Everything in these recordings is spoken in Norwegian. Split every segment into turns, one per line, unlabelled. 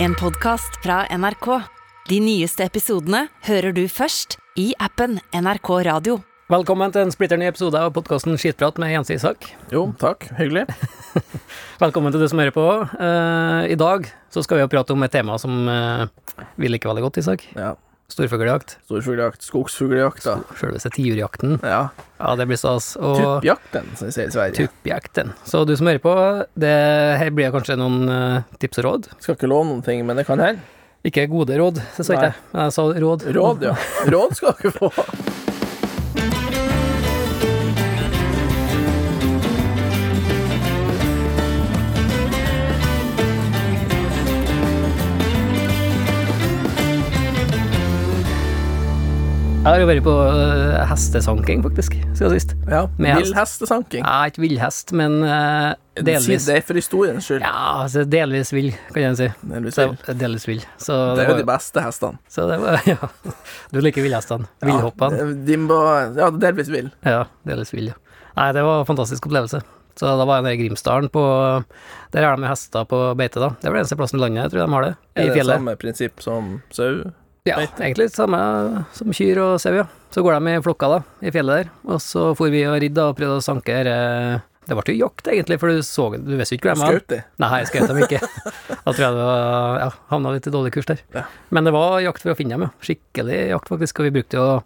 En podcast fra NRK. De nyeste episodene hører du først i appen NRK Radio.
Velkommen til en splitter ny episode av podkasten Skitprat med Jens Isak.
Jo, takk. Hyggelig.
Velkommen til du som hører på. Eh, I dag så skal vi jo prate om et tema som eh, vi liker veldig godt, Isak.
Ja.
Storfugljakt.
Storfugljakt. Skogsfugljakt, da.
Selveste tiurjakten.
Ja.
Ja, det blir stas. Og
Tuppjakten, som vi sier i Sverige.
tuppjakten. Så du som hører på, det her blir kanskje noen eh, tips og råd.
Skal ikke love noen ting, men det kan hende.
Ikke gode råd, det sa ikke
Nei.
jeg. Men Jeg sa råd.
Råd, ja. Råd skal dere få.
Jeg har jo vært på eh, hestesanking, faktisk, siden sist.
Ja.
Med
Vill
hest.
hestesanking.
Jeg er ikke villhest, men eh, delvis.
Si det for historiens skyld.
Ja, altså delvis vill, kan jeg si.
Delvis
Så
vill.
jeg var delvis vill. Så
Det
det
er jo de
var,
beste hestene.
så det var ja. Du liker villhestene. Villhoppene.
Ja, de må- ja, delvis vill.
Ja, delvis vill, ja. Nei, det var en fantastisk opplevelse. Så da var jeg nede i Grimsdalen på Der er de med hester på beite, da. Det er vel eneste plassen i landet jeg tror de har det. I
Er det
fjellet.
samme prinsipp som sau?
Ja, egentlig samme som kyr og sau, ja. Så går de i flokka, da, i fjellet der. Og så for vi og ridde og prøvde å sanke her eh, Det ble jo jakt, egentlig, for du så Du visste jo ikke hvem
Skaut de?
Nei, jeg skjøt dem ikke. Da tror jeg det var ja, havna litt i dårlig kurs der.
Ja.
Men det var jakt for å finne dem, ja. Skikkelig jakt, faktisk. Og vi brukte jo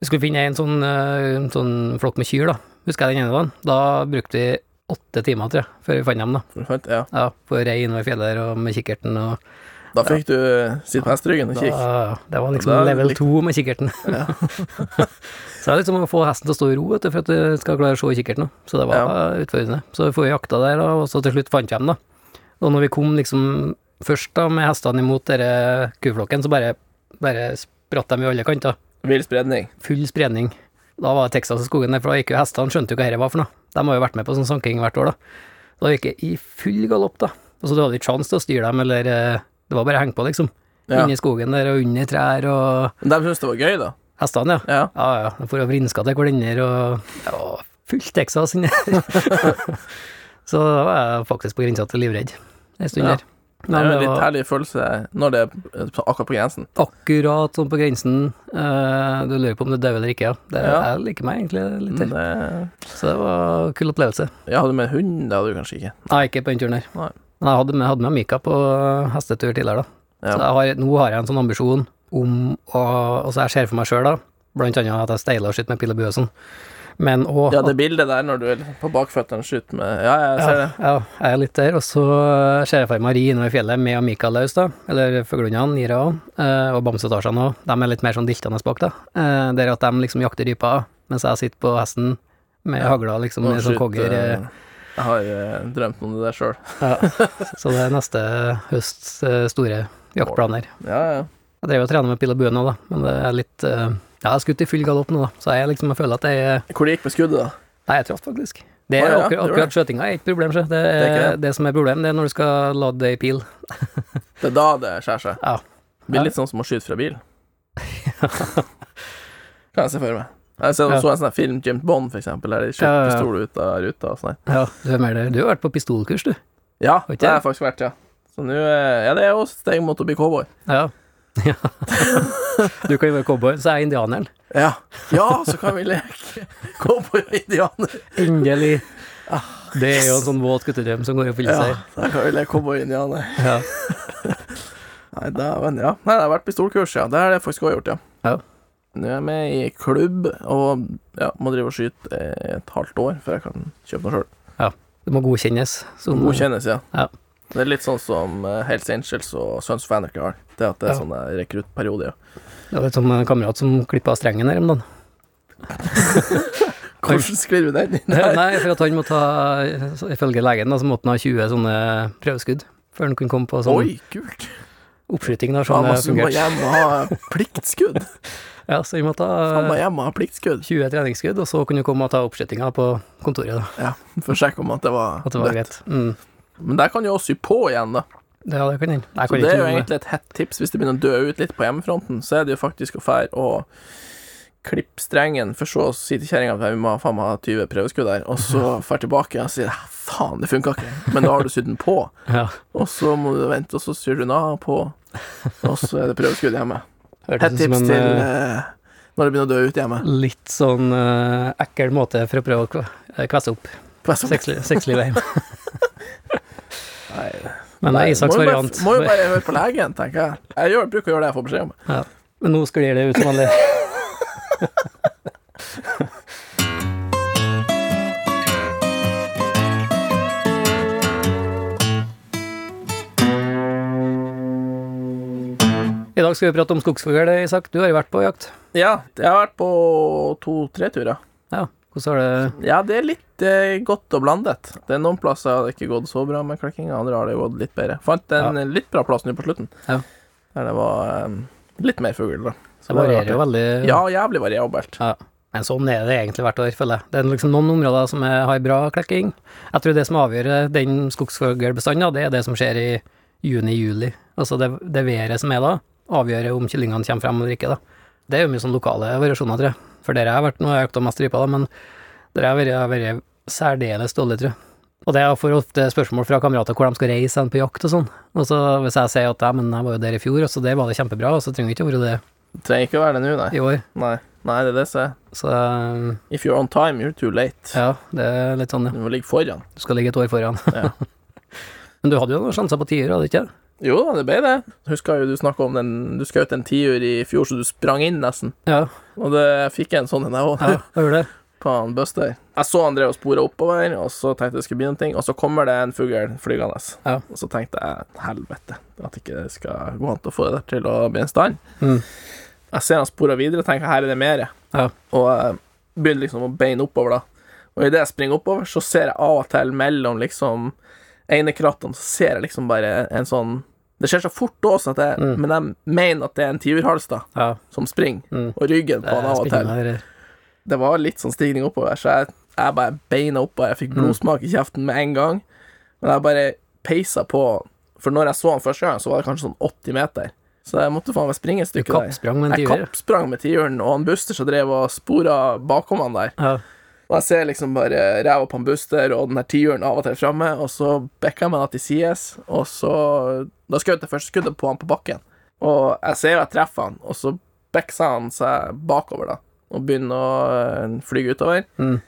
Vi skulle finne en sånn, eh, en sånn flokk med kyr, da. Husker jeg den ene dagen. Da brukte vi åtte timer, tror jeg, før vi fant dem, da.
For fant- Ja.
Ja, på rei innover fjellet der, og med kikkerten og
Da fikk du sitt på hesteryggen og
da,
kikk.
Det var liksom
Da er det
level
litt-
to med kikkerten. så det er liksom å få hesten til å stå i ro, vet du, for at du skal klare å se kikkerten. da. Så det var utfordrende. Så vi får jo jakta der, da, og så til slutt fant vi dem, da. Og når vi kom liksom først da med hestene imot denne kuflokken, så bare, bare spratt de i alle kanter.
Vill spredning.
Full spredning. Da var det Texas i skogen der, for da gikk jo hestene, skjønte jo hva dette var for noe. De har jo vært med på sånn sanking hvert år, da. Da gikk jeg i full galopp, da. Altså, du hadde ikke sjans til å styre dem, eller eh, Det var bare å henge på, liksom.
Ja.
Inni skogen der, og under trær, og
Men de syntes det var gøy, da.
hestene, ja.
Ja.
Ja, ja. De får jo vrinska til hverandre, og det var fullt Texas inni der. Så da var jeg faktisk på grensa til livredd en stund
Ja.
der.
Det
Men
er jo en
det
litt
var
herlig følelse når det er akkurat på grensen.
akkurat sånn på grensen. Eh, Du lurer på om du dør eller ikke, ja. Det,
Ja. Mm.
Jeg liker meg egentlig litt
Men
her.
det-
Så det var en kul opplevelse.
Ja, hadde du med hund? Det hadde du kanskje ikke.
Nei, ikke på den turen her.
Nei.
Men jeg hadde med, hadde med Mika på hestetur tidligere, da.
Ja.
Så jeg har, nå har jeg en sånn ambisjon om å Altså, jeg ser for meg sjøl, da, blant annet at jeg steiler og skyter med pil og bue og sånn, men òg
Ja, det bildet der når du er på bakføttene skyter med Ja, jeg ser det.
Ja, jeg er litt der. Og så ser jeg for meg Ri innover fjellet med Mikael Laus, da. Eller fuglehundene, Nira òg. Og bamsetasjene òg. De er litt mer sånn diltende bak, da. Eh, Der at de liksom jakter ryper, mens jeg sitter på hesten med hagla, liksom,
Nå
med sånn
skyter-
kogger. eh,
Jeg har eh, drømt om det der sjøl.
Ja. Så det er neste høsts eh, store jaktplaner.
Ja, ja.
Jeg drev og trener med pil og bue nå, da, men det er litt eh, Jeg har skutt i full galopp nå, da, så jeg, liksom, jeg føler at jeg er
Hvor det gikk med skuddet, da?
Nei, jeg traff faktisk. Det er
Å, ja,
akkurat,
det gjorde
akkurat skjøtinga er ikke problem, sjø. Det, er,
Det er ikke
det. som er problem, det er når du skal lade det i pil.
Det er da det skjærer seg.
Ja.
Det blir litt sånn som å skyte fra bil. kan jeg se for meg. Jeg så,
Ja.
så en sånn her film, James Bond, for eksempel, der de skyter
Ja, ja, ja.
pistol ut av ruta og sånn. her.
Ja, du er mer der. Du har vært på pistolkurs, du.
Ja,
Oi,
det har jeg faktisk vært, ja. Så nå eh, Ja, det er jo et steg mot å bli cowboy.
Ja. ja. Du kan jo være cowboy, så er jeg indianeren.
Ja. ja, så kan vi leke cowboy og indianer.
Endelig. Det er jo en sånn våt guttedrøm som går i oppfyllelse
Ah. Ja,
her.
da kan vi leke cowboy og indianer.
Ja.
Nei, dæven, ja. Nei, det har vært pistolkurs, ja. Det har det faktisk også gjort, ja.
Ja.
Nå er jeg med i klubb, og ja, må drive og skyte eh, et halvt år før jeg kan kjøpe noe sjøl.
Det må godkjennes. Som,
Godkjennes, ja.
Mm. Ja.
Det er litt sånn som eh, Hells Angels og Sons of Anarchy har. Det at det er
Ja.
sånn eh, rekruttperiode, ja.
Ja, det er som en kamerat som klippa av strengen her om dagen.
Hvordan sklir vi den inn her?
Nei, for at han må ta, ifølge legen, da, så måtte han ha 20 sånne prøveskudd før han kunne komme på sånn
Oi, kult!
oppskyting. da,
Han
Sånn
må,
det
må
fungerte.
hjem og ha pliktskudd.
Ja, så vi måtte
Han må
ha
hjem og ha pliktskudd
20 treningsskudd, og så kunne du komme og ta oppskytinga på kontoret. da,
Ja, for å sjekke om at det var,
At det var
dødt.
greit. Mm.
Men der kan jo også sy på igjen, da.
Ja, det kan hende. Jeg
Så
kan
det
ikke
er jo
noe om det.
egentlig et hett tips hvis det begynner å dø ut litt på hjemmefronten, så er det jo faktisk å fære og klippe strengen, for så sier til kjerringa at vi må faen meg ha 20 prøveskudd her, og så drar tilbake og sier «Ah, faen, det funka ikke, men da har du sydd den på,
Ja.
og så må du vente, og så syr du den av og på, og så er det prøveskudd hjemme.
Hørtes
Et
ut som
tips
en
til
eh,
eh, når det begynner å dø ut hjemme.
litt sånn eh, ekkel måte for å prøve å kve- eh, kvesse opp
Plass om-
sexli- sexlivet hjemme.
Nei,
Men det
nei,
er Isaks
må jo bare-
variant.
Må jo bare høre på legen, tenker jeg. Jeg gjør, bruker å gjøre det jeg får beskjed om.
Ja. Men nå sklir det ut som vanlig. I dag skal vi prate om skogsfugl, Isak. Du har jo vært på jakt.
Ja, jeg har vært på to-tre turer.
Ja, hvordan har det
Ja, det er litt eh, godt og blandet. Det er noen plasser har det ikke gått så bra med klekkinga, andre har det gått litt bedre. Fant en litt bra plass nå på slutten,
Ja.
der det var eh, litt mer fugl, da. Så
Det
var
varierer jo
artig.
veldig.
Ja, jævlig variabelt.
Ja. Men sånn er det egentlig hvert år, føler jeg. Det er liksom noen områder som er, har bra klekking. Jeg tror det som avgjør den skogsfuglbestanden, da, det er det som skjer i juni-juli. Altså det, det været som er da, avgjør om kyllingene kommer frem eller ikke. da. Det er jo mye sånn lokale variasjoner, tror jeg. For der jeg har vært, nå har jeg økt mest rypa, da, men der jeg har vært, har vært særdeles dårlig, tror jeg. Og det er for ofte spørsmål fra kamerater hvor de skal reise hen på jakt og sånn. Og så hvis jeg sier at ja, men jeg var jo der i fjor, og så der var det kjempebra, og så trenger vi ikke å være det
Trenger ikke å være det nå, nei.
i år.
nei. Nei, det er det som er
Så um,
If you're on time, you're too late.
ja, det er litt sånn, ja.
Du må ligge foran.
Du skal ligge et år foran.
Ja.
Men du hadde jo noen sjanser på tier, hadde du ikke?
Jo da, det ble det. Husker jo du snakka om den Du skjøt en tiur i fjor, så du sprang inn nesten.
Ja,
Og det fikk jeg en sånn en, jeg òg.
ja jeg gjorde det.
på han Buster. Jeg så han drev og spora oppover, og så tenkte jeg det skulle bli noen ting, og så kommer det en fugl flygende.
Ja.
Og så tenkte jeg helvete, at ikke det skal gå an til å få det der til å bli en stand.
Mm.
Jeg ser han sporer videre og tenker her er det mere,
Ja.
og jeg begynner liksom å beine oppover da. Og idet jeg springer oppover, så ser jeg av og til mellom liksom ene krattene, så ser jeg liksom bare en sånn Det skjer så fort også, at jeg,
Mm.
men jeg mener at det er en tiurhals da,
Ja,
som springer,
Mm.
og ryggen på
det
han
er
av og til
spennende. det der.
det var litt sånn stigning oppover, så jeg, jeg bare beina opp, og jeg
Mm.
fikk blodsmak i kjeften med en gang. Men jeg bare peisa på, for når jeg så han første gang, så var det kanskje sånn 80 meter. Så jeg måtte faen meg springe et
Du
stykke der.
kappsprang med en
Jeg
tier.
kappsprang med tiuren, og han Buster som drev og spora bakom han der.
Ja.
Og jeg ser liksom bare ræva på han Buster og den her tiuren av og til framme, og så bikka jeg meg da til sides, og så Da skjøt jeg første skuddet på han på bakken, og jeg ser jo jeg treffer han, og så bikser han seg bakover, da, og begynner å øh, flyge utover.
Mm.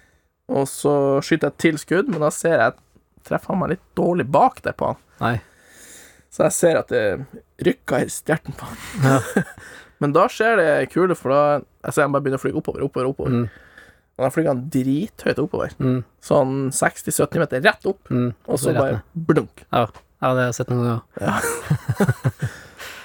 Og så skyter jeg et til skudd, men da ser jeg at treffer han meg litt dårlig bak der på han.
Nei.
Så jeg ser at det rykker i stjerten på han. Men da skjer det kule, for da Jeg ser han bare begynner å fly oppover, oppover, oppover.
Mm.
Og da flyr han drithøyt oppover.
Mm.
Sånn 60-70 meter rett opp,
Mm.
og så
rett
bare blunk.
Ja. ja, det har jeg sett noen ganger.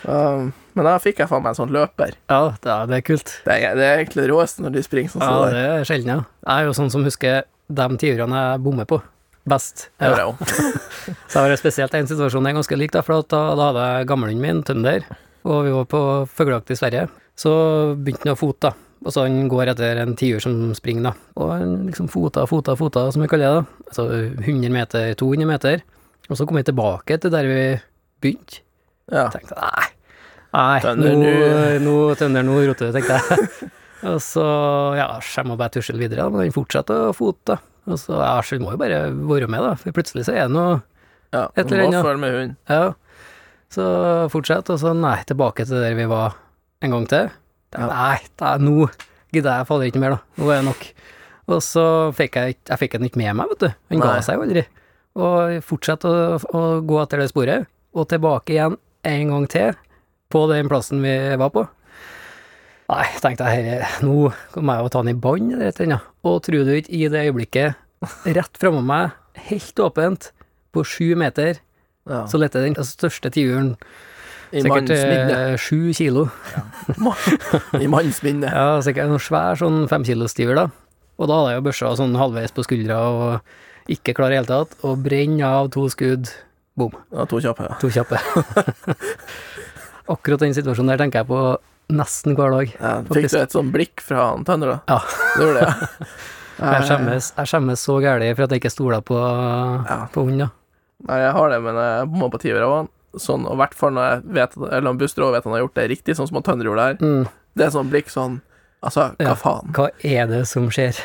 Um, men da fikk jeg faen meg en sånn løper.
Ja, det er, det er kult.
Det er, det er egentlig det råeste når de springer sånn.
Ja,
som det
det er sjelden, ja. Jeg er jo sånn som husker de tiurene jeg bommer på. Best. Ja.
der. Hører jeg om.
Så var det spesielt en situasjon jeg er ganske lik, da, for at da, da hadde jeg gamlingen min, Tønder, og vi var på fuglejakt i Sverige. Så begynte han å fote, da. Og så han går etter en tiur som springer, da. Og han liksom fota, fota, fota, som vi kaller det. da. Altså 100 meter, 200 meter. Og så kom vi tilbake til der vi begynte.
Ja.
Jeg tenkte nei, nei
Tønder,
nå,
du-
nå, Tønder, nå roter du, tenkte jeg. og så ja, jeg må bare tusle videre, da, men han fortsetter å fote. da. Og så ja, så vi må jo bare være med, da, for plutselig så er det noe
ja.
Et eller
Må
annet.
følge med hund.
ja. Så fortsett, og så nei, tilbake til der vi var en gang til.
Ja.
Nei, det er nå gidder jeg faller ikke mer, da. Nå er det nok. Og så fikk jeg, ikke- jeg fikk den ikke med meg, vet du. Han ga
Nei.
seg jo aldri. Og fortsatte å, å gå etter det sporet, og tilbake igjen en gang til, på den plassen vi var på. Nei, tenkte jeg, herre, nå må jeg jo ta den i bånd eller et eller annet. Og tror du ikke, i det øyeblikket, rett framme meg, helt åpent, på sju meter,
Ja.
så lette den Altså, største tiuren,
I
sikkert
mannens minne.
eh, sju kilo.
I mannens minne.
Ja, sikkert en svær sånn femkilostiver, da. Og da hadde jeg jo børsa sånn halvveis på skuldra og ikke klar i hele tatt, og brenne av to skudd. Bom.
Ja, to kjappe. ja.
To kjappe. Akkurat den situasjonen der tenker jeg på nesten hver dag.
Ja, fikk du et sånn blikk fra han Tønder, da?
Ja.
Det gjorde det, ja.
Jeg skjemmes, jeg skjemmes så gæli for at jeg ikke stoler på,
Ja.
på hund, da.
Nei, jeg har det, men jeg bomma på tiur av han. Sånn, og i hvert fall når jeg vet, eller han Buster også vet han har gjort det riktig, sånn som han Tønder gjorde der.
Mm.
Det er sånn blikk sånn Altså, hva
Ja.
faen?
Hva er det som skjer?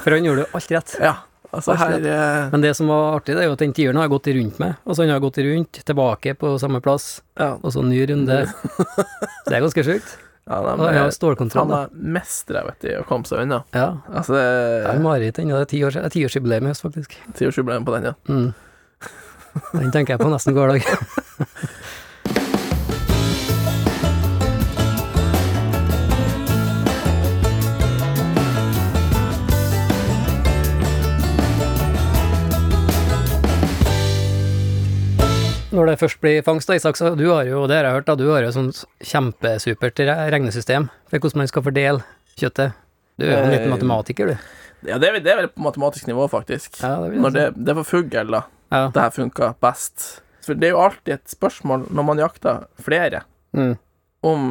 For han gjorde jo alt rett.
Ja, altså her eh,
Men det som var artig, det er jo at den tieren har gått rundt meg. Altså han har gått rundt, tilbake på samme plass,
Ja,
og så ny runde. Det er ganske sjukt.
ja
Og
de,
Han har
er-
stålkontroll.
han
da.
er mester, jeg vet du, i å komme seg unna.
Ja.
Altså,
Det er mareritt ennå. Det er tiårs- det er tiårsjubileum i høst, faktisk.
tiårsjubileum på den, ja.
Mm. Den tenker jeg på nesten hver dag. Når det først blir fangst, da, Isak, så du har jo, det har jeg hørt, da, du har jo sånn kjempesupert re- regnesystem for hvordan man skal fordele kjøttet. Du er jo en liten
Eh,
matematiker, du.
ja det, er, vel- det er vel på matematisk nivå, faktisk.
Ja, det vil jeg
Når
si.
det, det er for fugl, da.
ja.
Det her funka best. For det er jo alltid et spørsmål når man jakter flere,
Mm.
om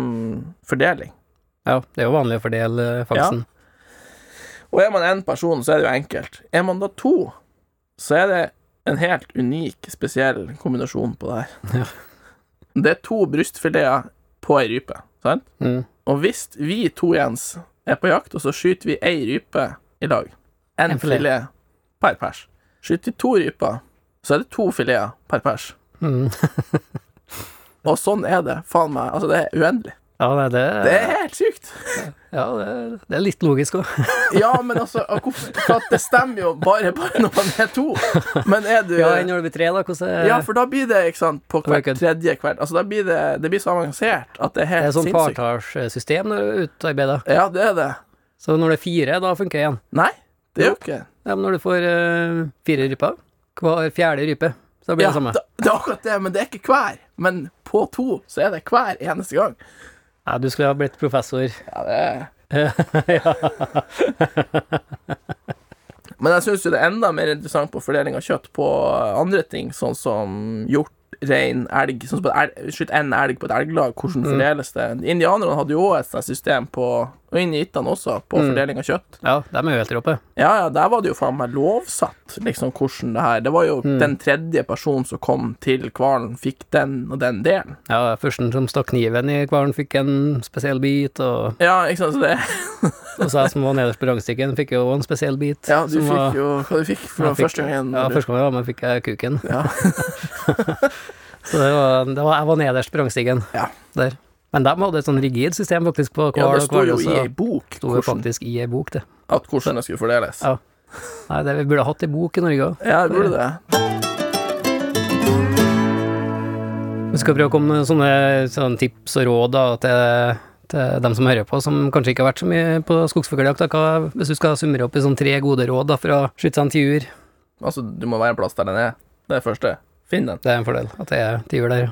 fordeling.
ja, det er jo vanlig å fordele eh, fangsten.
Og er man én person, så er det jo enkelt. Er man da to, så er det en helt unik, spesiell kombinasjon på det her.
Ja.
Det er to brystfileter på ei rype, sant?
Mm.
Og hvis vi to, Jens, er på jakt, og så skyter vi ei rype i lag, én
En filet.
filet per pers Skyter vi to ryper, så er det to fileter per pers.
Mm.
Og sånn er det, faen meg. Altså, det er uendelig.
Ja, nei, det,
Det er helt sykt.
ja, det, det er litt logisk òg.
Ja, men altså, hvorfor, for at det stemmer jo bare, bare når man er to. Men er du
Ja, enn når det blir tre, da. Hvordan er
Ja, for da blir det ikke sant, på
Det er
hvert
kødd.
tredje hvert Altså, da blir det, det blir så avansert at det er
Det
helt
er sånn
sinnssykt.
partallssystem når det er utarbeida.
Ja, det er det.
Så når det er fire, da funker det igjen.
Nei, det er jo ikke
Ja, men når du får eh, fire ryper, hver fjerde rype, så blir det
ja,
samme.
da, Det er akkurat det, men det er ikke hver. Men på to så er det hver eneste gang.
Nei, du skulle ha blitt professor.
Ja, det er
ja.
Men jeg syns jo det er enda mer interessant på fordeling av kjøtt på eh, andre ting, sånn som hjort, rein, elg Sånn som på et elg- Skyt en elg på et elglag,
Mm.
hvordan fordeles det? Indianerne hadde jo også et sånt system på Og inuittene også, på
Mm.
fordeling av kjøtt.
ja, de er jo helt råpe.
Ja, ja, der var det jo faen meg lovsatt, liksom, hvordan det her Det var jo
Mm.
den tredje personen som kom til hvalen, fikk den og den delen.
Ja, Førsten som stakk kniven i hvalen, fikk en spesiell bit, og,
Ja, ikke sant, så det
og så jeg som var nederst på rangstikken, fikk jo også en spesiell bit.
Ja, du
som var-
fikk jo hva du fikk fra
Jeg fikk-
første gangen.
Ja,
eller?
første gang jeg var med, fikk jeg kuken.
Ja.
så det var, det var, jeg var nederst på rangstigen.
Ja.
Der. Men de hadde et sånn rigid system faktisk på
ja,
hval og
det sto
hval.
jo
og
i
så
ei bok
sto det
hvordan,
faktisk i ei bok, det.
at hvordan det skulle fordeles.
Ja. Nei, det, vi burde hatt ei bok i Norge òg.
Ja, det burde det.
Vi skal prøve å komme med sånne, sånne tips og råd da, til, til dem som hører på, som kanskje ikke har vært så mye på skogsfugljakt. da. Hva- Hvis du skal summere opp i sånn tre gode råd da, for å skyte seg en tiur,
Altså, du må være en plass der den er. Det er det første. Finn den.
det er en fordel at det er tiur der.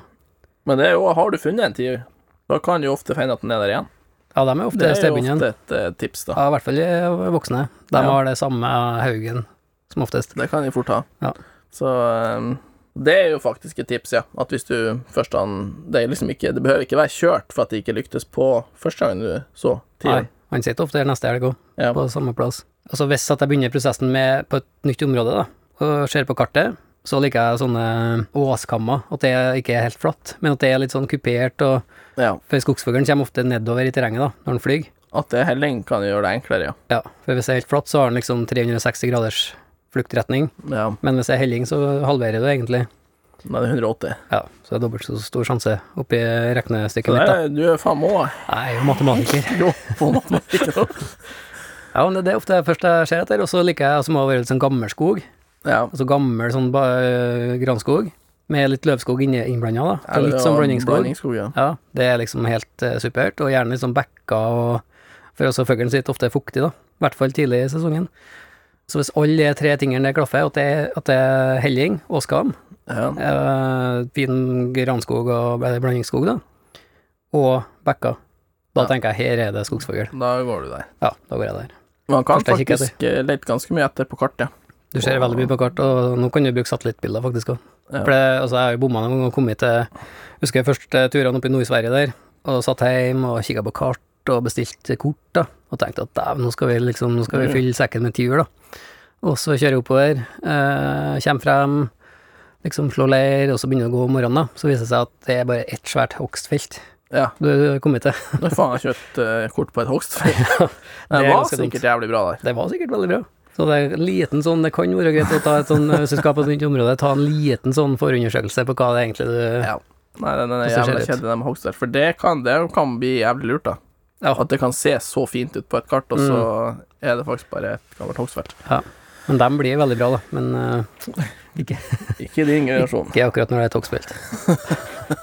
Men det er jo, har du funnet en tiur, da kan du jo ofte finne at den er der igjen.
Ja, de er ofte
Det er jo
stebbinden.
ofte et eh, tips, da.
Ja, i hvert fall de voksne. De
Ja.
har det samme haugen som oftest.
Det kan de fort ha.
Ja.
Så ehm, det er jo faktisk et tips, ja. At hvis du først an, det, er liksom ikke, det behøver ikke være kjørt for at det ikke lyktes på første gangen du så
Nei,
tiuren.
han sitter ofte her neste helg òg,
Ja.
på samme plass. Altså Hvis at jeg begynner prosessen med på et nytt område, da, og ser på kartet, så liker jeg sånne åskammer. At det ikke er helt flatt, men at det er litt sånn kupert. Og,
Ja.
for skogsfuglen kommer ofte nedover i terrenget da, når den flyr.
At det er helling kan jo gjøre det enklere, ja.
Ja, for hvis det er helt flatt, så har den liksom 360 graders fluktretning.
ja.
Men hvis det er helling, så halverer du egentlig.
Da er det 180.
Ja, Så det er dobbelt så stor sjanse oppi regnestykket
Så
mitt,
det
da.
er, du er faen må
Jeg er jo matematiker.
på matematikken.
Ja, men det er ofte det første jeg ser etter, og så liker jeg som har vært litt sånn gammel skog,
Ja.
altså gammel sånn ba, øh, granskog, med litt løvskog inni- innblandet da. Det er litt
Eller,
sånn
ja,
blandingsskog.
blandingsskog, ja.
Ja, det er liksom helt eh, supert, og gjerne litt sånn bekker, og, for også føggelen sitt ofte er fuktig da, i hvert fall tidlig i sesongen. Så hvis alle de tre tingene der klaffer, at det, er- at det er helling og skam,
ja.
eh, fin granskog og bl- blandingsskog da, og bekker, da
Ja.
tenker jeg, her er det skogsføggel.
Da går du der.
Ja, da går jeg der.
Man kan
Først jeg kikker
faktisk eh, lete ganske mye etter på kartet.
Du ser veldig mye på kart, og nå kan du bruke satellittbilder faktisk òg.
Ja.
For det, altså, jeg har jo bomma noen ganger og kommet til Husker jeg først eh, turene oppe i Nord-Sverige der, og satt hjem og kikka på kart og bestilte kort, da, og tenkte at dæven, nå skal vi liksom, nå skal vi fylle sekken med tiur, da. Og så kjører jeg oppover, eh, kommer frem, liksom slår leir, og så begynner det å gå om morgenen, da. Så viser det seg at det er bare ett svært hogstfelt.
Ja.
Du er kommet til.
Nå har faen jeg kjøpt eh, kort på et hogstfeil. det
er
var
ganske dumt.
sikkert jævlig bra der.
Det var sikkert veldig bra. Så det er en liten sånn, det kan være greit å ta et sånn, hvis du skal på et nytt område, ta en liten sånn forundersøkelse på hva det egentlig du
Ja. Nei, den den er
Hvis det ser
jævlig
ut.
kjedelig, den med Hogstad. For det kan, det kan bli jævlig lurt, da.
Ja.
At det kan se så fint ut på et kart, og så er det faktisk bare et gammelt Hogstad.
Men dem blir veldig bra, da. Men eh,
Ikke din generasjon.
ikke akkurat når det er togspilt.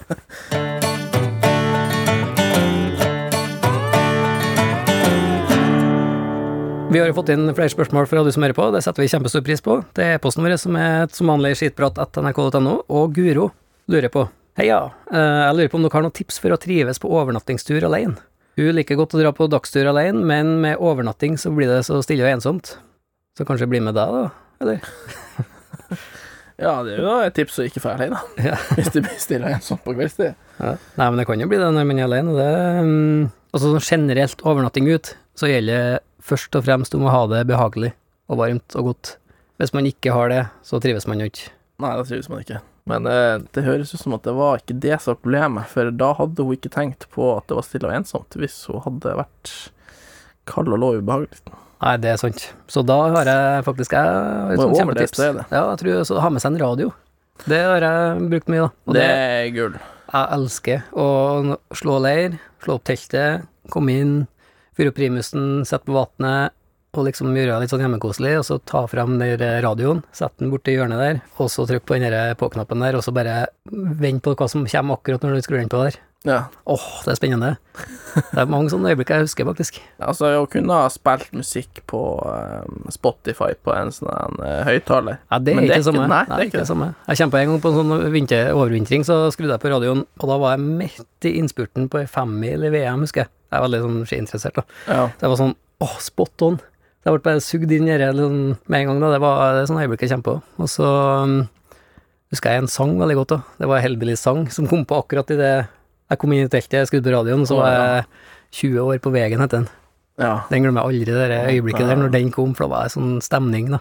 Vi har jo fått inn flere spørsmål fra du som hører på, det setter vi kjempestor pris på. Det er posten vår som er som vanlig skitprat.nrk.no, og Guro lurer på Heia, eh, jeg lurer på om dere har noen tips for å trives på overnattingstur alene? Hun liker godt å dra på dagstur alene, men med overnatting så blir det så stille og ensomt. Så kanskje bli med deg, da? Eller?
Ja, det er jo et tips å ikke dra alene, da.
Ja.
Hvis du blir stille en sånn på kveldstid.
Ja. Nei, men det kan jo bli det når man er alene. Det, mm, altså sånn generelt overnatting ut, så gjelder det først og fremst om å ha det behagelig og varmt og godt. Hvis man ikke har det, så trives man jo ikke.
Nei, det trives man ikke. Men eh, det høres ut som at det var ikke det som var problemet, for da hadde hun ikke tenkt på at det var stille og ensomt, hvis hun hadde vært kald og lå ubehagelig.
Nei, det er sant. Så da har jeg faktisk jeg, har et
Må
sånt
jo overleve
kjempetips.
stedet.
Ja, jeg tror så ha med seg en radio. Det har jeg brukt mye, da. Og
Det
det,
er gull.
jeg elsker å n- slå leir, slå opp teltet, komme inn, fyre opp primusen, sette på vannet, og liksom gjøre det litt sånn hjemmekoselig, og så ta fram den der radioen, sette den borti hjørnet der, og så trykke på den der på-knappen der, og så bare vent på hva som kommer akkurat når du skrur den på der.
Ja.
Åh, det er spennende. Det er mange sånne øyeblikk jeg husker, faktisk.
Altså, å kunne ha spilt musikk på eh, Spotify på en sånn eh, høyttaler
Ja, det er,
Men
ikke det samme.
Nei, det er ikke
det
det.
samme. Jeg kjempa en gang på en sånn vinter, overvintring, så skrudde jeg på radioen, og da var jeg midt i innspurten på ei femmil i VM, husker jeg. Jeg er veldig sånn skiinteressert, da.
Ja.
Så jeg var sånn åh, spot on. Så Jeg ble bare sugd inn i det liksom, med en gang. da, Det var det er sånne øyeblikk jeg kjenner på. Og så um, husker jeg en sang veldig godt. da, Det var en Hellbillies-sang som kom på akkurat idet jeg kom inn i teltet, jeg skrudde på radioen, så
Å,
var
ja.
jeg 20 år på veien, het den.
Ja.
Den glemmer jeg aldri, det der øyeblikket der når den kom, for da var det sånn stemning, da.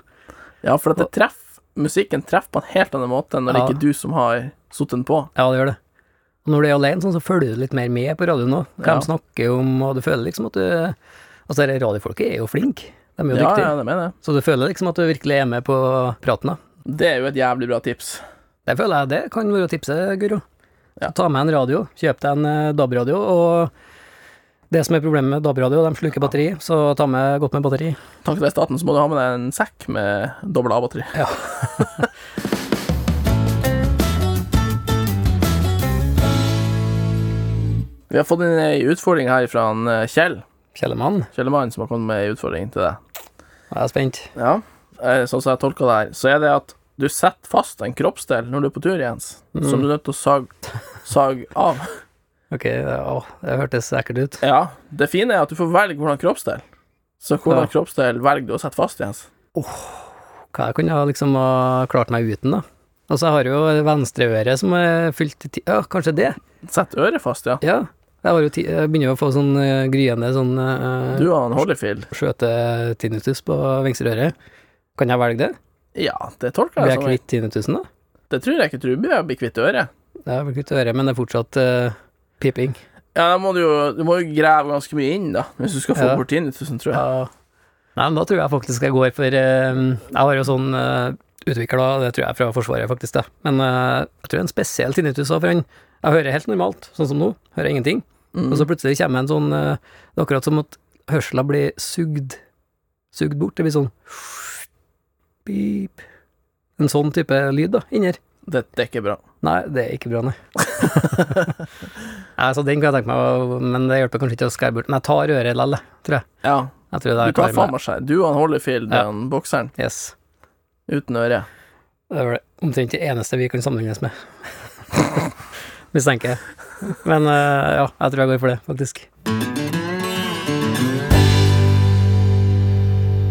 ja, for at det treffer Musikken treffer på en helt annen måte enn når det
Ja.
ikke er du som har satt den på.
Ja, det gjør det. Og når du er alene, sånn, så følger du litt mer med på radioen òg. Hva
Ja.
de snakker om, og du føler liksom at du Altså, dette radiofolket er jo flinke. De er jo
Ja,
dyktige.
ja, det mener jeg.
Så du føler liksom at du virkelig er med på praten, da.
Det er jo et jævlig bra tips.
Det føler jeg det kan være tipset, Guro.
Ja.
Ta med en radio, kjøp deg en eh, DAB-radio, og det som er problemet med DAB-radio, de sluker batteri, så ta med godt med batteri.
Takk til deg, staten, så må du ha med deg en sekk med dobbel A-batteri. Vi har fått inn ei utfordring her fra han eh, Kjell,
Kjellemann,
Kjellemann, som har kommet med ei utfordring til deg.
jeg er spent.
Ja, eh, Sånn som jeg tolker det her, så er det at du setter fast en kroppsdel når du er på tur, Jens, som du er nødt til å sage sag av.
Ok, å, det hørtes ekkelt ut.
Ja, det fine er at du får velge hvordan kroppsdel. Så hvordan
Ja.
kroppsdel velger du å sette fast, Jens?
Hva jeg kunne ha liksom ha klart meg uten, da. Og så har jeg jo venstreøret som er fylt i ti... Ja, kanskje det?
Sett øret fast, ja.
Ja. Jeg, har jo ti... jeg begynner jo å få sånn eh, gryende sånn uh,
Du og han Holyfield.
skjøtetinnitus på venstreøret. Kan jeg velge det?
Ja, sånn det tolker
Blir
jeg
jeg
som
kvitt tinnitusen, da?
Det tror jeg ikke du blir, blir kvitt øret.
Det er vel kutt øre, men det er fortsatt eh, piping.
Ja, da må du, jo, du må jo grave ganske mye inn, da, hvis du skal få
Ja.
bort tinnitusen, tror jeg.
Ja. Nei, men da tror jeg faktisk jeg går for eh, Jeg har jo sånn uh, utvikla, det tror jeg er fra Forsvaret, faktisk, da. Men eh, jeg tror det er en spesiell tinnitus òg, for han Jeg hører helt normalt, sånn som nå. Hører ingenting.
Mm.
Og så plutselig kommer en sånn eh, Det er akkurat som at hørselen blir sugd Sugd bort. Det blir sånn Pip. En sånn type lyd, da, inni her.
det, det er ikke bra.
Nei, det er ikke bra, nei. nei så den kan jeg tenke meg, å- men det hjelper kanskje ikke å skære bort. Men jeg tar øret likevel, jeg, tror jeg.
Ja,
Jeg tror det
du
er
tar
klar
faen
med.
meg seg. Du og han Holyfield,
Ja.
den bokseren,
Yes.
uten øre.
Det er vel omtrent det eneste vi kan sammenlignes med. Mistenker jeg. Men eh, ja, jeg tror jeg går for det, faktisk.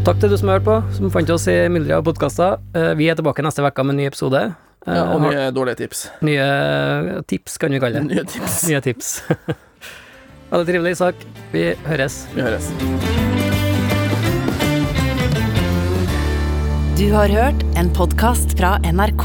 Takk til du som har hørt på, som fant oss i mylderet av podkaster. Eh, Vi er tilbake neste uke med en ny episode. Eh,
Ja, og
har-
mye dårlige tips.
nye tips, kan vi kalle det.
Nye tips.
Nye tips. Veldig trivelig, Isak. Vi høres.
Vi høres.
Du har hørt en podcast fra NRK.